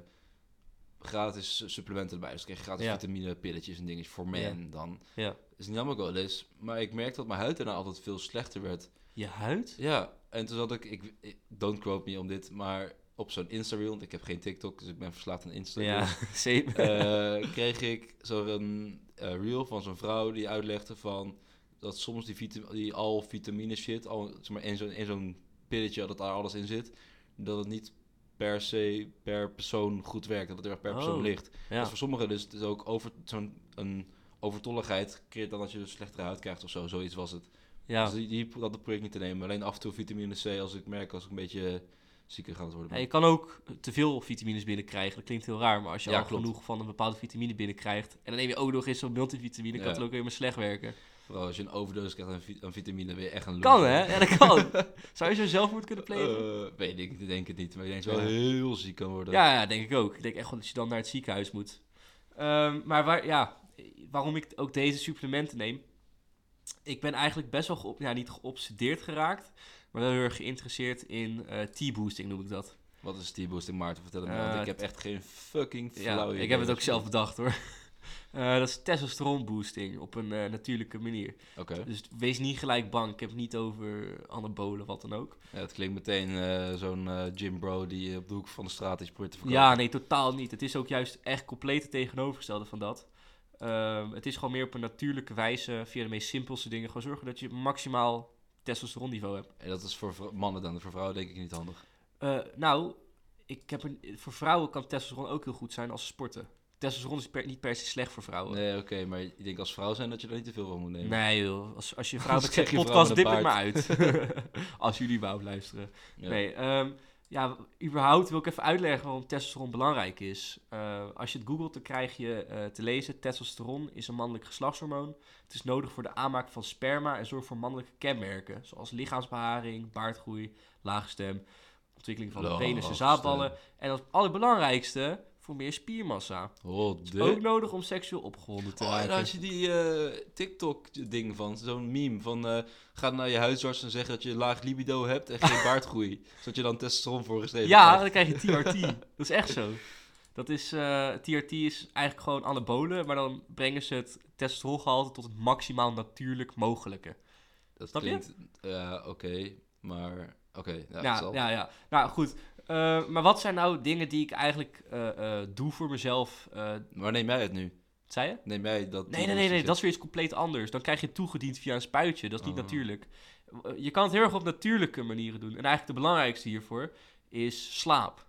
Speaker 1: gratis supplementen erbij. Dus kreeg je gratis
Speaker 2: Ja.
Speaker 1: vitamine, pilletjes en dingetjes voor men
Speaker 2: Ja.
Speaker 1: dan.
Speaker 2: Ja.
Speaker 1: Is niet allemaal wel eens, maar ik merkte dat mijn huid daarna altijd veel slechter werd.
Speaker 2: Je huid?
Speaker 1: Ja, en toen zat ik, ik, ik- don't quote me om dit, maar op zo'n Insta-reel, want ik heb geen TikTok, dus ik ben verslaafd aan Insta-reels.
Speaker 2: Ja, zeker.
Speaker 1: Eh, kreeg ik zo'n eh, reel van zo'n vrouw die uitlegde van dat soms die, vita- die al vitamine shit, al, zeg maar in zo'n in zo'n pilletje dat daar alles in zit, dat het niet per se per persoon goed werkt, dat het er echt per persoon
Speaker 2: Oh,
Speaker 1: ligt. Dus
Speaker 2: ja.
Speaker 1: voor sommigen dus het is ook over zo'n een overtolligheid creëert dan dat je dus slechtere huid krijgt of zo, zoiets was het.
Speaker 2: ja.
Speaker 1: Dus die, die dat project niet te nemen, alleen af en toe vitamine C als ik merk als ik een beetje zieker ga worden.
Speaker 2: Ja, je kan ook te veel vitamines binnenkrijgen. Dat klinkt heel raar, maar als je
Speaker 1: Ja,
Speaker 2: al
Speaker 1: klopt.
Speaker 2: genoeg van een bepaalde vitamine binnenkrijgt... en dan neem je ook nog eens zo'n multivitamine, kan
Speaker 1: Ja.
Speaker 2: het ook weer maar slecht werken.
Speaker 1: Vooral als je een overdosis krijgt aan, vi- aan vitamine, ben je echt een
Speaker 2: Kan,
Speaker 1: loser.
Speaker 2: hè? Ja, dat kan. Zou je zo zelfmoord kunnen plegen?
Speaker 1: Eh, weet ik, ik denk het niet. Maar ik denk dat je
Speaker 2: Ja.
Speaker 1: wel heel ziek kan worden.
Speaker 2: Ja, ja, denk ik ook. Ik denk echt gewoon dat je dan naar het ziekenhuis moet. Ehm, maar waar, ja, waarom ik ook deze supplementen neem. Ik ben eigenlijk best wel geop, ja, niet geobsedeerd geraakt. Maar wel heel erg geïnteresseerd in eh T-boosting noem ik dat.
Speaker 1: Wat is T-boosting, Maarten? Vertel het me. want
Speaker 2: Eh,
Speaker 1: ik heb echt geen fucking
Speaker 2: Ja,
Speaker 1: flauw idee.
Speaker 2: ik heb het ook zelf bedacht hoor. Eh, dat is testosteron boosting op een eh, natuurlijke manier.
Speaker 1: Oké.
Speaker 2: Dus wees niet gelijk bang. Ik heb het niet over anabolen, wat dan ook.
Speaker 1: Ja, het klinkt meteen eh, zo'n eh gym bro die op de hoek van de straat is probeert te verkopen.
Speaker 2: Ja, nee, totaal niet. Het is ook juist echt compleet het tegenovergestelde van dat. Ehm, het is gewoon meer op een natuurlijke wijze, via de meest simpelste dingen, gewoon zorgen dat je maximaal testosteronniveau hebt.
Speaker 1: En dat is voor vrou- mannen dan. Voor vrouwen denk ik niet handig.
Speaker 2: Eh, nou, ik heb een, voor vrouwen kan testosteron ook heel goed zijn als ze sporten. Testosteron is per- niet per se slecht voor vrouwen.
Speaker 1: Nee, oké. maar ik denk als vrouw zijn dat je er niet te veel van moet nemen.
Speaker 2: Nee, joh. Als, als je een vrouw
Speaker 1: Anders
Speaker 2: bent, zeg
Speaker 1: krijg je
Speaker 2: podcast, dip
Speaker 1: vrouw
Speaker 2: het maar
Speaker 1: met
Speaker 2: uit. als jullie wou luisteren.
Speaker 1: Ja.
Speaker 2: Nee, ehm, ja, überhaupt wil ik even uitleggen waarom testosteron belangrijk is. Eh, als je het googelt, dan krijg je eh, te lezen... testosteron is een mannelijk geslachtshormoon. Het is nodig voor de aanmaak van sperma... en zorgt voor mannelijke kenmerken... zoals lichaamsbeharing, baardgroei, lage stem... ontwikkeling van de
Speaker 1: Lage
Speaker 2: penis
Speaker 1: stem.
Speaker 2: en zaadballen... en als allerbelangrijkste... voor meer spiermassa.
Speaker 1: Oh, de...
Speaker 2: Ook nodig om seksueel opgewonden te
Speaker 1: Oh, en dan
Speaker 2: raken.
Speaker 1: had je die eh, TikTok-ding van, zo'n meme van... eh, ga naar je huisarts en zeg dat je laag libido hebt en geen baardgroei. zodat je dan testosteron voorgeschreven
Speaker 2: Ja,
Speaker 1: krijgt.
Speaker 2: dan krijg je TRT. dat is echt zo. Dat is, eh, TRT is eigenlijk gewoon anabolen, maar dan brengen ze het testosterongehalte tot het maximaal natuurlijk mogelijke.
Speaker 1: Dat
Speaker 2: snap je?
Speaker 1: klinkt... Ja, oké. maar... Oké, ja, het
Speaker 2: ja,
Speaker 1: zal.
Speaker 2: ja, ja. Nou, goed. Eh, maar wat zijn nou dingen die ik eigenlijk eh, eh, doe voor mezelf? eh
Speaker 1: Maar neem jij het nu?
Speaker 2: zei je?
Speaker 1: Neem jij dat...
Speaker 2: Nee, nee, nee, nee, dat is weer iets compleet anders. Dan krijg je het toegediend via een spuitje. Dat is niet
Speaker 1: Oh.
Speaker 2: natuurlijk. Eh, Je kan het heel erg op natuurlijke manieren doen. En eigenlijk de belangrijkste hiervoor is slaap.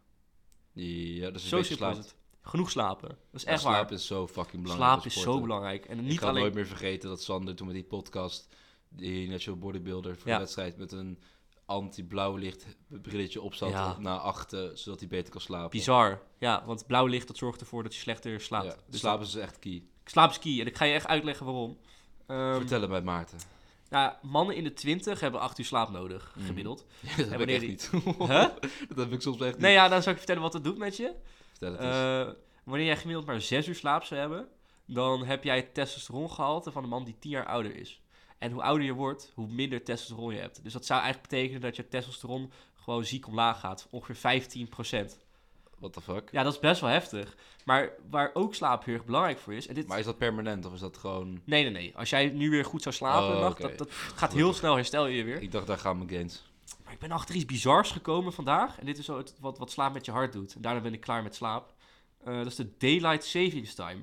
Speaker 1: Ja, dat is een
Speaker 2: Zo
Speaker 1: beetje
Speaker 2: simpel
Speaker 1: slaap.
Speaker 2: is het. Genoeg slapen. Dat is
Speaker 1: Ja,
Speaker 2: echt
Speaker 1: slaap
Speaker 2: waar.
Speaker 1: is zo fucking belangrijk.
Speaker 2: Slaap
Speaker 1: bij
Speaker 2: is zo
Speaker 1: sporten.
Speaker 2: belangrijk. En
Speaker 1: Ik
Speaker 2: niet
Speaker 1: kan
Speaker 2: alleen...
Speaker 1: nooit meer vergeten dat Sander toen met die podcast... die Natural Bodybuilder voor
Speaker 2: Ja.
Speaker 1: de wedstrijd... met een anti-blauw licht brilletje op zat
Speaker 2: Ja.
Speaker 1: op- na achten... zodat hij beter kan slapen.
Speaker 2: Bizar. Ja, want blauw licht dat zorgt ervoor dat je slechter slaapt.
Speaker 1: Ja,
Speaker 2: Dus
Speaker 1: slaap is echt key.
Speaker 2: dat- slaap is key. En ik ga je echt uitleggen waarom. Ehm,
Speaker 1: Vertel het bij Maarten.
Speaker 2: nou, mannen in de twintig hebben acht uur slaap nodig,
Speaker 1: Mhm.
Speaker 2: gemiddeld.
Speaker 1: Ja, dat heb ik
Speaker 2: wanneer
Speaker 1: echt
Speaker 2: die-
Speaker 1: niet.
Speaker 2: Huh?
Speaker 1: Dat heb ik soms echt niet.
Speaker 2: Nee, ja, dan zou ik je vertellen wat dat doet met je.
Speaker 1: Vertel het eens.
Speaker 2: Eh, wanneer jij gemiddeld maar 6 uur slaap zou hebben, dan heb jij het testosterongehalte van een man die 10 jaar ouder is. En hoe ouder je wordt, hoe minder testosteron je hebt. Dus dat zou eigenlijk betekenen dat je testosteron gewoon ziek omlaag gaat. Ongeveer 15%.
Speaker 1: What the fuck?
Speaker 2: Ja, dat is best wel heftig. Maar waar ook slaap heel erg belangrijk voor is. En dit...
Speaker 1: Maar is dat permanent of is dat gewoon...
Speaker 2: Nee, nee, nee. Als jij nu weer goed zou slapen,
Speaker 1: Oh,
Speaker 2: een nacht,
Speaker 1: oké.
Speaker 2: dat, dat gaat heel snel herstel je je weer.
Speaker 1: Ik dacht, daar gaan mijn gains.
Speaker 2: Maar ik ben achter iets bizars gekomen vandaag. En dit is zo het- wat, wat slaap met je hart doet. En daarna ben ik klaar met slaap. Eh, dat is de daylight savings time.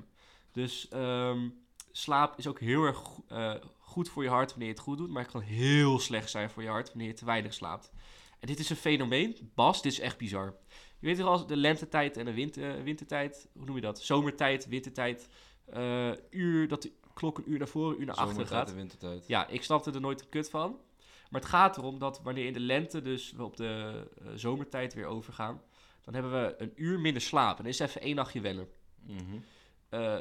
Speaker 2: Dus ehm, slaap is ook heel erg go- eh, goed voor je hart wanneer je het goed doet. Maar het kan heel slecht zijn voor je hart wanneer je te weinig slaapt. En dit is een fenomeen. Bas, dit is echt bizar. Je weet toch als de lentetijd en de winter, eh, wintertijd. Hoe noem je dat? Zomertijd, wintertijd. eh, uur, dat de klok een uur naar voren, een uur naar achteren
Speaker 1: Zomertijd
Speaker 2: gaat.
Speaker 1: en wintertijd.
Speaker 2: Ja, ik snapte er nooit een kut van. Maar het gaat erom dat wanneer in de lente, dus we op de eh, zomertijd weer overgaan, dan hebben we een uur minder slaap. En dan is even één nachtje wennen.
Speaker 1: Mhm.
Speaker 2: Eh,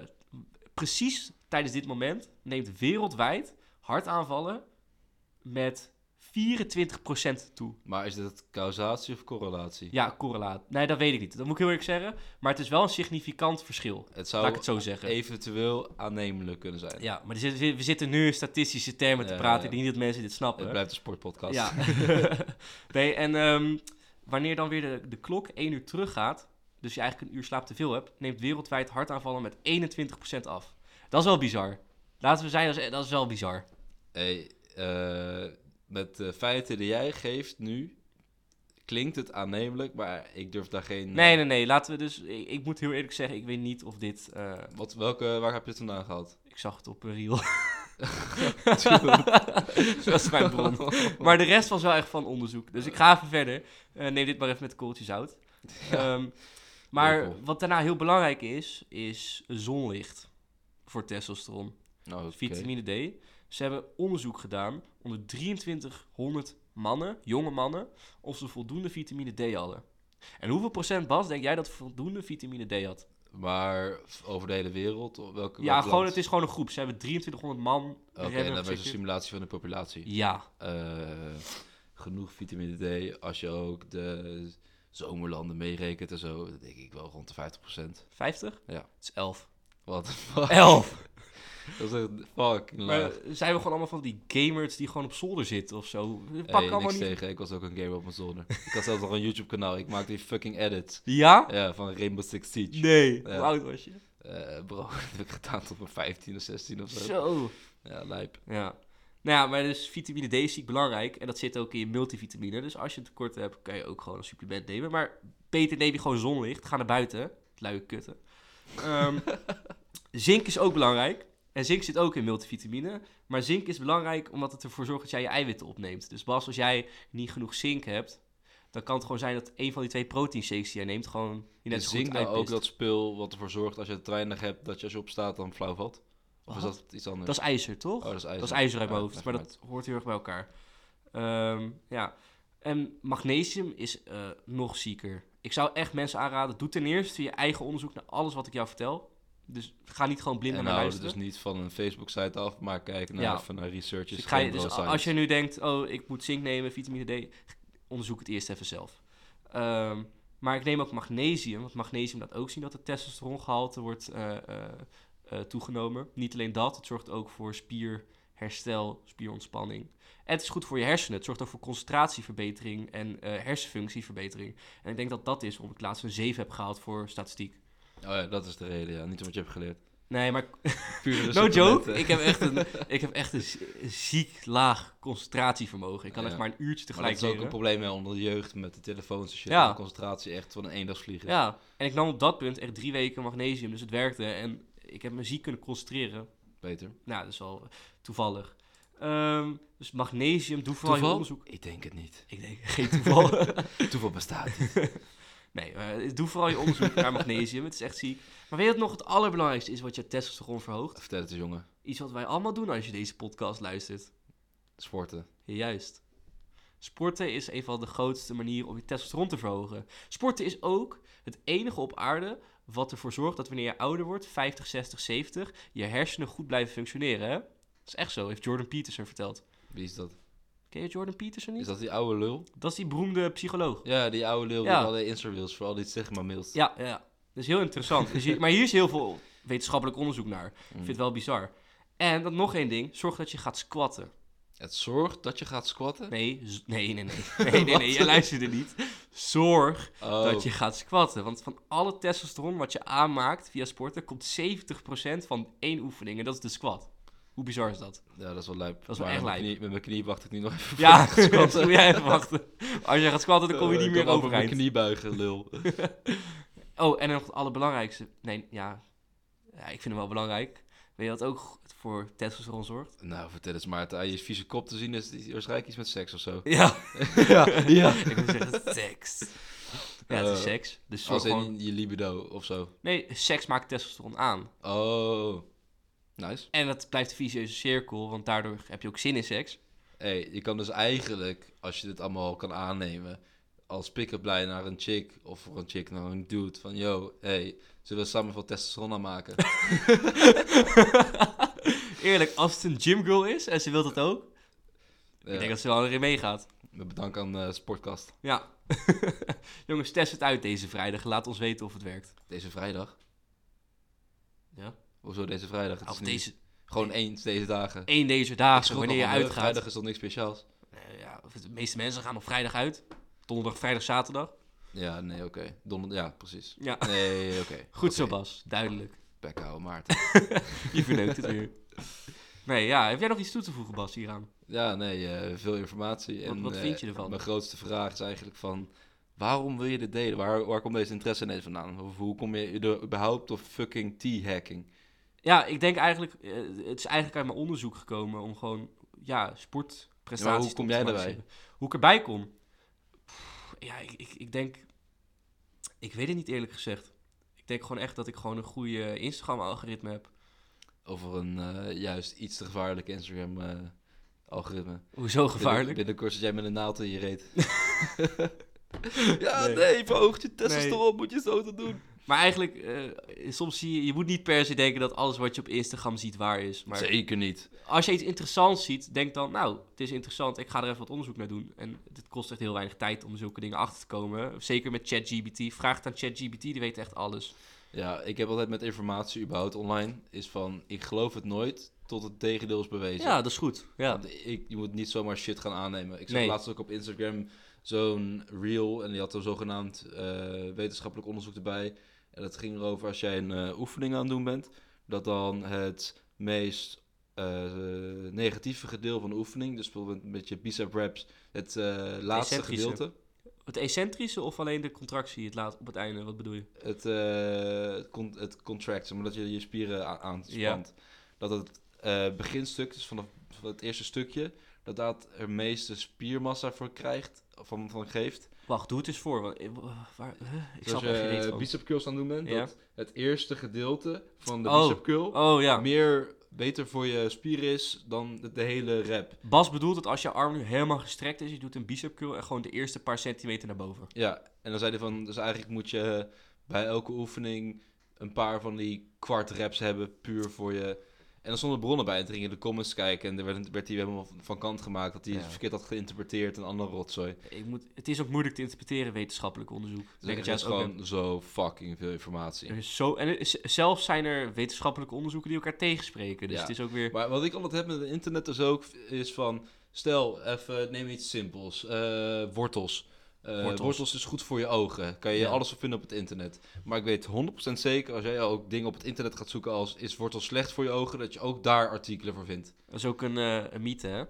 Speaker 2: precies tijdens dit moment neemt wereldwijd hartaanvallen met 24% toe.
Speaker 1: Maar is dit causatie of correlatie?
Speaker 2: Ja, correlaat. Nee, dat weet ik niet. Dat moet ik heel eerlijk zeggen. Maar het is wel een significant verschil.
Speaker 1: Het
Speaker 2: Laat ik
Speaker 1: zou
Speaker 2: het zo zeggen.
Speaker 1: Oh, eventueel aannemelijk kunnen zijn.
Speaker 2: Ja, maar er zitten- we zitten nu in statistische termen te
Speaker 1: Ja,
Speaker 2: praten.
Speaker 1: ja.
Speaker 2: Ik denk niet dat mensen dit snappen.
Speaker 1: Het blijft een sportpodcast.
Speaker 2: Ja. nee, en ehm, wanneer dan weer de, de klok één uur teruggaat, dus je eigenlijk een uur slaap te veel hebt, neemt wereldwijd hartaanvallen met 21% af. Dat is wel bizar. Laten we zijn, dat is, dat is wel bizar.
Speaker 1: Hey, eh, met de feiten die jij geeft nu... klinkt het aannemelijk, maar ik durf daar geen... eh,
Speaker 2: Nee, nee, nee. Laten we dus. Ik, ik moet heel eerlijk zeggen, ik weet niet of dit. eh,
Speaker 1: Wat, welke, waar heb je het vandaan gehad?
Speaker 2: ik zag het op een reel.
Speaker 1: Nou,
Speaker 2: dat is mijn bron. Maar de rest was wel echt van onderzoek. Dus ik ga even verder. Eh, neem dit maar even met kooltjes zout. Ehm, maar
Speaker 1: Lekker.
Speaker 2: wat daarna heel belangrijk is, is zonlicht voor testosteron.
Speaker 1: Nou, oké.
Speaker 2: vitamine D. Ze hebben onderzoek gedaan onder 2300 mannen, jonge mannen, of ze voldoende vitamine D hadden. En hoeveel procent, Bas, denk jij dat voldoende vitamine D had?
Speaker 1: Maar over de hele wereld? Of welke,
Speaker 2: ja,
Speaker 1: welk
Speaker 2: gewoon,
Speaker 1: land?
Speaker 2: het is gewoon een groep. Ze hebben 2300 man.
Speaker 1: Oké,
Speaker 2: hebben
Speaker 1: dan was een
Speaker 2: gezegd-
Speaker 1: simulatie van de populatie.
Speaker 2: Ja,
Speaker 1: Eh, genoeg vitamine D als je ook de zomerlanden meerekent en zo. Dan denk ik wel rond de 50%.
Speaker 2: 50?
Speaker 1: Ja.
Speaker 2: Het is 11.
Speaker 1: Wat fuck?
Speaker 2: 11!
Speaker 1: Dat is echt fucking
Speaker 2: maar
Speaker 1: laag.
Speaker 2: zijn we gewoon allemaal van die gamers die gewoon op zolder zitten of zo? We
Speaker 1: Hey,
Speaker 2: pakken
Speaker 1: niks
Speaker 2: allemaal niet...
Speaker 1: tegen. Ik was ook een gamer op mijn zolder. ik had zelfs nog een YouTube kanaal. Ik maakte die fucking edits.
Speaker 2: Ja?
Speaker 1: Ja, van Rainbow Six Siege.
Speaker 2: Nee.
Speaker 1: Ja.
Speaker 2: Hoe oud was je?
Speaker 1: Eh, bro, dat heb ik gedaan tot mijn 15 of 16 of zo.
Speaker 2: Zo.
Speaker 1: Ja, lijp.
Speaker 2: Ja. Nou ja, maar dus vitamine D is ziek belangrijk. En dat zit ook in je multivitamine. Dus als je een tekort hebt, kan je ook gewoon een supplement nemen. Maar beter neem je gewoon zonlicht. Ga naar buiten. Luie kutten. Ehm, zink is ook belangrijk. En zink zit ook in multivitamine. Maar zink is belangrijk omdat het ervoor zorgt dat jij je eiwitten opneemt. Dus Bas, als jij niet genoeg zink hebt, dan kan het gewoon zijn dat een van die twee protein shakes die jij neemt gewoon je net
Speaker 1: Is
Speaker 2: zo goed
Speaker 1: zink nou ook
Speaker 2: uitpist.
Speaker 1: dat spul wat ervoor zorgt als je het te weinig hebt, dat je als je opstaat dan flauw valt? Of is
Speaker 2: Wat?
Speaker 1: dat iets anders?
Speaker 2: Dat is ijzer, toch?
Speaker 1: oh, dat is ijzer.
Speaker 2: Dat is ijzer uit mijn
Speaker 1: Ja,
Speaker 2: hoofd,
Speaker 1: leg
Speaker 2: maar
Speaker 1: uit.
Speaker 2: dat hoort heel erg bij elkaar. Ehm, ja. En magnesium is eh, nog zieker. Ik zou echt mensen aanraden, doe ten eerste je eigen onderzoek naar alles wat ik jou vertel. Dus ga niet gewoon blind
Speaker 1: En
Speaker 2: naar mij
Speaker 1: hou het
Speaker 2: luisteren.
Speaker 1: dus niet van een Facebook-site af, maar kijk naar,
Speaker 2: Ja.
Speaker 1: even naar researches.
Speaker 2: Dus ik ga je,
Speaker 1: gewoon
Speaker 2: dus
Speaker 1: raw science.
Speaker 2: als je nu denkt, oh, ik moet zink nemen, vitamine D, onderzoek het eerst even zelf. Ehm, Maar ik neem ook magnesium, want magnesium laat ook zien dat het testosterongehalte wordt eh, eh, eh, toegenomen. Niet alleen dat, het zorgt ook voor spierherstel, spierontspanning. En het is goed voor je hersenen. Het zorgt ook voor concentratieverbetering en eh, hersenfunctieverbetering. En ik denk dat dat is omdat ik laatst een 7 heb gehaald voor statistiek.
Speaker 1: Oh ja, dat is de reden, ja. Niet omdat je hebt geleerd.
Speaker 2: Nee, maar
Speaker 1: Pure eh,
Speaker 2: no joke.
Speaker 1: supplementen.
Speaker 2: Ik heb echt een, ik heb echt een zie- een ziek laag concentratievermogen. Ik kan
Speaker 1: Ja.
Speaker 2: echt maar een uurtje
Speaker 1: Maar
Speaker 2: tegelijk
Speaker 1: dat is ook
Speaker 2: leren.
Speaker 1: een probleem hè, onder de jeugd met de telefoons en shit.
Speaker 2: Ja.
Speaker 1: en De concentratie echt van een eendagsvlieg is.
Speaker 2: Ja, en ik nam op dat punt echt drie weken magnesium, dus het werkte. En ik heb me ziek kunnen concentreren.
Speaker 1: Beter.
Speaker 2: Nou, dat is wel toevallig. Ehm, dus magnesium, doe vooral je onderzoek.
Speaker 1: Ik denk het niet.
Speaker 2: Ik denk, geen toeval.
Speaker 1: Toeval bestaat niet.
Speaker 2: nee, eh, doe vooral je onderzoek naar magnesium. Het is echt ziek. Maar weet je wat nog het allerbelangrijkste is wat je testosteron verhoogt?
Speaker 1: Vertel het eens, jongen.
Speaker 2: Iets wat wij allemaal doen als je deze podcast luistert.
Speaker 1: Sporten.
Speaker 2: Juist. Sporten is een van de grootste manieren om je testosteron te verhogen. Sporten is ook het enige op aarde wat ervoor zorgt dat wanneer je ouder wordt, 50, 60, 70, je hersenen goed blijven functioneren. Hè? Dat is echt zo, heeft Jordan Peterson verteld.
Speaker 1: Wie is dat?
Speaker 2: Ken je Jordan Peterson
Speaker 1: Is
Speaker 2: niet?
Speaker 1: dat die oude lul?
Speaker 2: Dat is die beroemde psycholoog.
Speaker 1: Ja, die oude lul
Speaker 2: Ja.
Speaker 1: die al die Insta-reels voor al die stigma-mails.
Speaker 2: Ja, ja. Dat is heel interessant. Dus hier- maar hier is heel veel wetenschappelijk onderzoek naar. Ik
Speaker 1: Mm.
Speaker 2: vind het wel bizar. En dan nog één ding, zorg dat je gaat squatten.
Speaker 1: Het zorgt dat je gaat squatten.
Speaker 2: Nee, z- nee, nee, nee. Nee, nee, nee, je luisterde niet. Zorg
Speaker 1: Oh,
Speaker 2: dat je gaat squatten. Want van alle testosteron wat je aanmaakt via sporten, komt 70% van één oefening. En dat is de squat. Hoe bizar is dat?
Speaker 1: Ja, dat is wel lijp.
Speaker 2: is wel
Speaker 1: Maar
Speaker 2: echt
Speaker 1: met mijn
Speaker 2: lijp.
Speaker 1: knie- Met mijn knie wacht ik nu nog even
Speaker 2: Ja,
Speaker 1: voor het
Speaker 2: squat.
Speaker 1: squatten.
Speaker 2: Moet jij even wachten. Als je gaat squatten, dan kom je
Speaker 1: Eh,
Speaker 2: niet
Speaker 1: ik
Speaker 2: meer
Speaker 1: kan over mijn
Speaker 2: overeind.
Speaker 1: knie buigen, lul.
Speaker 2: Oh, en nog het allerbelangrijkste. Nee, ja. ja. Ik vind hem wel belangrijk. Weet je wat ook goed voor testosteron zorgt?
Speaker 1: nou, vertel eens Maarten. Aan je vieze kop te zien is die waarschijnlijk iets met seks of zo.
Speaker 2: Ja.
Speaker 1: ja, ja.
Speaker 2: ik moet zeggen, seks. Ja, het is
Speaker 1: Eh,
Speaker 2: seks. Dus zorg
Speaker 1: Als
Speaker 2: gewoon...
Speaker 1: in je libido of zo.
Speaker 2: Nee, seks maakt testosteron aan.
Speaker 1: Oh, nice.
Speaker 2: En dat blijft een vicieuze cirkel, want daardoor heb je ook zin in seks.
Speaker 1: Hey, je kan dus eigenlijk, als je dit allemaal kan aannemen, als pick-up lijn naar een chick of voor een chick naar een dude van, yo, hey, zullen we samen veel testosteron aanmaken?
Speaker 2: Eerlijk, als het een gymgirl is en ze wil dat ook, ik denk
Speaker 1: Ja,
Speaker 2: dat ze wel erin meegaat.
Speaker 1: Eh, Met bedankt aan eh, Sportcast.
Speaker 2: Ja. Jongens, test het uit deze vrijdag. Laat ons weten of het werkt.
Speaker 1: Deze vrijdag.
Speaker 2: Ja.
Speaker 1: Hoezo deze vrijdag? Het
Speaker 2: Of
Speaker 1: is nu
Speaker 2: deze,
Speaker 1: Gewoon eens deze dagen.
Speaker 2: één deze
Speaker 1: Ik
Speaker 2: dagen,
Speaker 1: schrok
Speaker 2: wanneer je
Speaker 1: nog wel,
Speaker 2: uitgaat.
Speaker 1: Vrijdag is dan niks speciaals.
Speaker 2: Eh, ja, of de meeste mensen gaan op vrijdag uit. Donderdag, vrijdag, zaterdag.
Speaker 1: Ja, nee, oké. Donder- ja, precies.
Speaker 2: Ja.
Speaker 1: Nee, oké.
Speaker 2: Goed zo, Bas. Duidelijk.
Speaker 1: Bek houden, Maarten.
Speaker 2: Je verneukt het weer. Nee, ja. Heb jij nog iets toe te voegen, Bas, hieraan?
Speaker 1: Ja, nee, eh, veel informatie.
Speaker 2: Wat-
Speaker 1: en,
Speaker 2: wat
Speaker 1: eh,
Speaker 2: vind je ervan?
Speaker 1: Mijn grootste vraag is eigenlijk van... Waarom wil je dit delen? Waar, waar komt deze interesse ineens vandaan? Of hoe kom je er überhaupt op fucking T-hacking?
Speaker 2: Ja, ik denk eigenlijk... eh, het is eigenlijk uit mijn onderzoek gekomen om gewoon... Ja, sportprestaties...
Speaker 1: Ja, maar hoe
Speaker 2: te
Speaker 1: kom jij daarbij?
Speaker 2: optimaliseren. Hoe ik erbij kom? Pff, ja, ik, ik, ik denk... Ik weet het niet eerlijk gezegd. Ik denk gewoon echt dat ik gewoon een goede Instagram-algoritme heb.
Speaker 1: Over een eh, juist iets te gevaarlijk Instagram-algoritme.
Speaker 2: Hoezo gevaarlijk?
Speaker 1: Binnenkort zit jij met een naald in je reet. ja,
Speaker 2: Nee.
Speaker 1: nee. verhoog je testosteron, moet je zo te doen.
Speaker 2: Maar eigenlijk, eh, soms zie je... Je moet niet per se denken dat alles wat je op Instagram ziet waar is. Maar
Speaker 1: Zeker niet.
Speaker 2: als je iets interessants ziet, denk dan... Nou, het is interessant. Ik ga er even wat onderzoek naar doen. En het kost echt heel weinig tijd om zulke dingen achter te komen. Zeker met ChatGPT. Vraag het aan ChatGPT, die weet echt alles.
Speaker 1: Ja, ik heb altijd met informatie überhaupt online... is van, ik geloof het nooit tot het tegendeel is bewezen.
Speaker 2: Ja, dat is goed. Ja.
Speaker 1: Want ik, je moet niet zomaar shit gaan aannemen. Ik zag
Speaker 2: Nee.
Speaker 1: laatst ook op Instagram zo'n reel en die had er zogenaamd eh, wetenschappelijk onderzoek erbij. En dat ging erover als jij een eh, oefening aan het doen bent, dat dan het meest eh, negatieve gedeelte van de oefening, dus bijvoorbeeld met je bicep reps, het eh, laatste
Speaker 2: Decentrische.
Speaker 1: gedeelte,
Speaker 2: Het ecentrische of alleen de contractie het laat, op het einde? Wat bedoel je?
Speaker 1: het, eh, het, con- het contract, omdat je je spieren a- aanspant. Dat het eh, beginstuk, dus vanaf van het eerste stukje, dat dat er meeste spiermassa voor krijgt, van, van geeft.
Speaker 2: Wacht, doe het eens voor. Want, eh, wa- waar, huh? ik
Speaker 1: Dus als
Speaker 2: snap
Speaker 1: je
Speaker 2: er geen reet
Speaker 1: eh,
Speaker 2: van.
Speaker 1: bicep curls aan het doen bent,
Speaker 2: Ja.
Speaker 1: dat het eerste gedeelte van de
Speaker 2: Oh.
Speaker 1: bicep curl
Speaker 2: Oh ja,
Speaker 1: meer beter voor je spieren is dan de, de hele rep.
Speaker 2: Bas bedoelt dat als je arm nu helemaal gestrekt is, je doet een bicep curl en gewoon de eerste paar centimeter naar boven.
Speaker 1: Ja, en dan zei hij van, dus eigenlijk moet je bij elke oefening een paar van die kwart reps hebben, puur voor je... En dan stonden bronnen bij en toen ging je de comments kijken en er werd, werd hij helemaal van kant gemaakt dat hij
Speaker 2: Ja.
Speaker 1: het verkeerd had geïnterpreteerd en andere rotzooi.
Speaker 2: Ik moet, het is ook moeilijk te interpreteren, wetenschappelijk onderzoek.
Speaker 1: Dus ik
Speaker 2: het
Speaker 1: het is gewoon zo fucking veel informatie.
Speaker 2: Er is zo, en er is- zelfs zijn er wetenschappelijke onderzoeken die elkaar tegenspreken. Dus
Speaker 1: Ja.
Speaker 2: het is ook weer...
Speaker 1: Maar wat ik altijd heb met het internet dus ook, is van... Stel, even, neem iets simpels. eh, wortels. Eh,
Speaker 2: Wortels.
Speaker 1: wortels. is goed voor je ogen. Kan je
Speaker 2: Ja.
Speaker 1: alles op vinden op het internet. Maar ik weet 100% zeker, als jij ook dingen op het internet gaat zoeken als... is wortel slecht voor je ogen, dat je ook daar artikelen voor vindt.
Speaker 2: Dat is ook een, eh, een mythe, hè?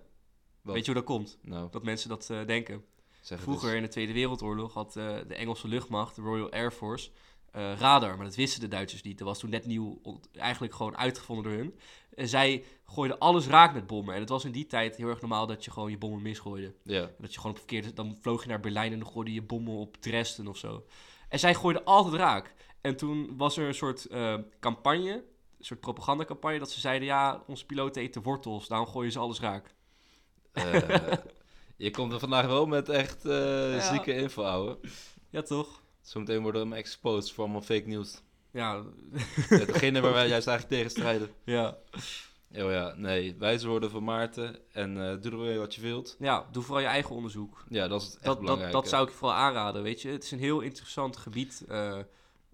Speaker 2: Weet je hoe dat komt?
Speaker 1: Nou,
Speaker 2: Dat mensen dat eh, denken.
Speaker 1: zeg het
Speaker 2: Vroeger in de Tweede Wereldoorlog had eh, de Engelse luchtmacht, de Royal Air Force, eh, radar. Maar dat wisten de Duitsers niet. Dat was toen net nieuw, ont- eigenlijk gewoon uitgevonden door hun. En zij gooiden alles raak met bommen. En het was in die tijd heel erg normaal dat je gewoon je bommen misgooide.
Speaker 1: eens. Ja.
Speaker 2: En Dat je gewoon op verkeerde... Dan vloog je naar Berlijn en dan gooide je bommen op Dresden of zo. En zij gooiden altijd raak. En toen was er een soort eh, campagne, een soort propagandacampagne... dat ze zeiden, ja, onze piloten eten wortels, daarom gooien ze alles raak.
Speaker 1: Eh, je komt er vandaag wel met echt eh,
Speaker 2: Ja.
Speaker 1: zieke info, ouwe.
Speaker 2: Ja, toch?
Speaker 1: Zometeen worden we hem exposed voor allemaal fake news.
Speaker 2: Ja,
Speaker 1: Hetgene waar wij juist eigenlijk tegen strijden.
Speaker 2: ja.
Speaker 1: Oh ja, nee. Wijze woorden van Maarten. En eh, doe er weer wat je wilt.
Speaker 2: Ja, doe vooral je eigen onderzoek.
Speaker 1: Ja, dat is het echt
Speaker 2: dat, dat,
Speaker 1: belangrijk.
Speaker 2: dat zou ik je vooral aanraden, weet je. Het is een heel interessant gebied, eh,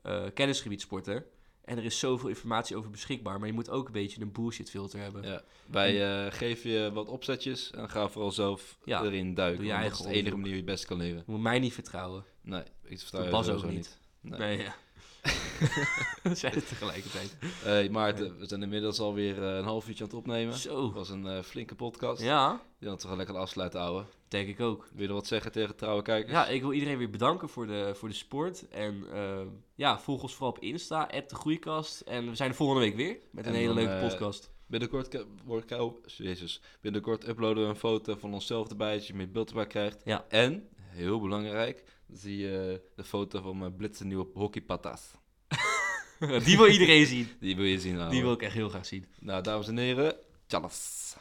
Speaker 2: eh, kennisgebied sporten. En er is zoveel informatie over beschikbaar, maar je moet ook een beetje een bullshit filter hebben.
Speaker 1: Ja. Wij eh, geven je wat opzetjes en ga vooral zelf
Speaker 2: Ja,
Speaker 1: erin duiken.
Speaker 2: doe je
Speaker 1: want dat
Speaker 2: eigen
Speaker 1: is de enige
Speaker 2: onderzoek.
Speaker 1: manier je best kan leven.
Speaker 2: Je moet mij niet vertrouwen.
Speaker 1: Nee, ik vertrouw
Speaker 2: Dat
Speaker 1: je
Speaker 2: Bas
Speaker 1: eh, sowieso
Speaker 2: ook niet.
Speaker 1: niet. Nee.
Speaker 2: Nee, ja. We zijn het tegelijkertijd.
Speaker 1: Hey, Maarten, we zijn inmiddels alweer eh, een half uurtje aan het opnemen. Het
Speaker 2: Zo.
Speaker 1: was een eh, flinke podcast.
Speaker 2: Ja,
Speaker 1: Die hadden we gaan lekker afsluiten, ouwe.
Speaker 2: denk ik ook.
Speaker 1: Wil je nog wat zeggen tegen trouwe kijkers?
Speaker 2: Ja, ik wil iedereen weer bedanken voor de, voor de sport. En eh, ja, volg ons vooral op Insta, app de Groeikast. En we zijn er volgende week weer met een
Speaker 1: En
Speaker 2: hele
Speaker 1: dan,
Speaker 2: leuke
Speaker 1: eh,
Speaker 2: podcast.
Speaker 1: Binnenkort, ke- word ik- oh, jezus. Binnenkort uploaden we een foto van onszelf erbij, dat je meer beeld erbij krijgt.
Speaker 2: Ja.
Speaker 1: En, heel belangrijk, zie je de foto van mijn blitzennieuwe hockeypatas.
Speaker 2: Die wil iedereen zien.
Speaker 1: Die wil je zien, ouwe.
Speaker 2: Die wil ik echt heel graag zien.
Speaker 1: Nou, dames en heren, tjallas.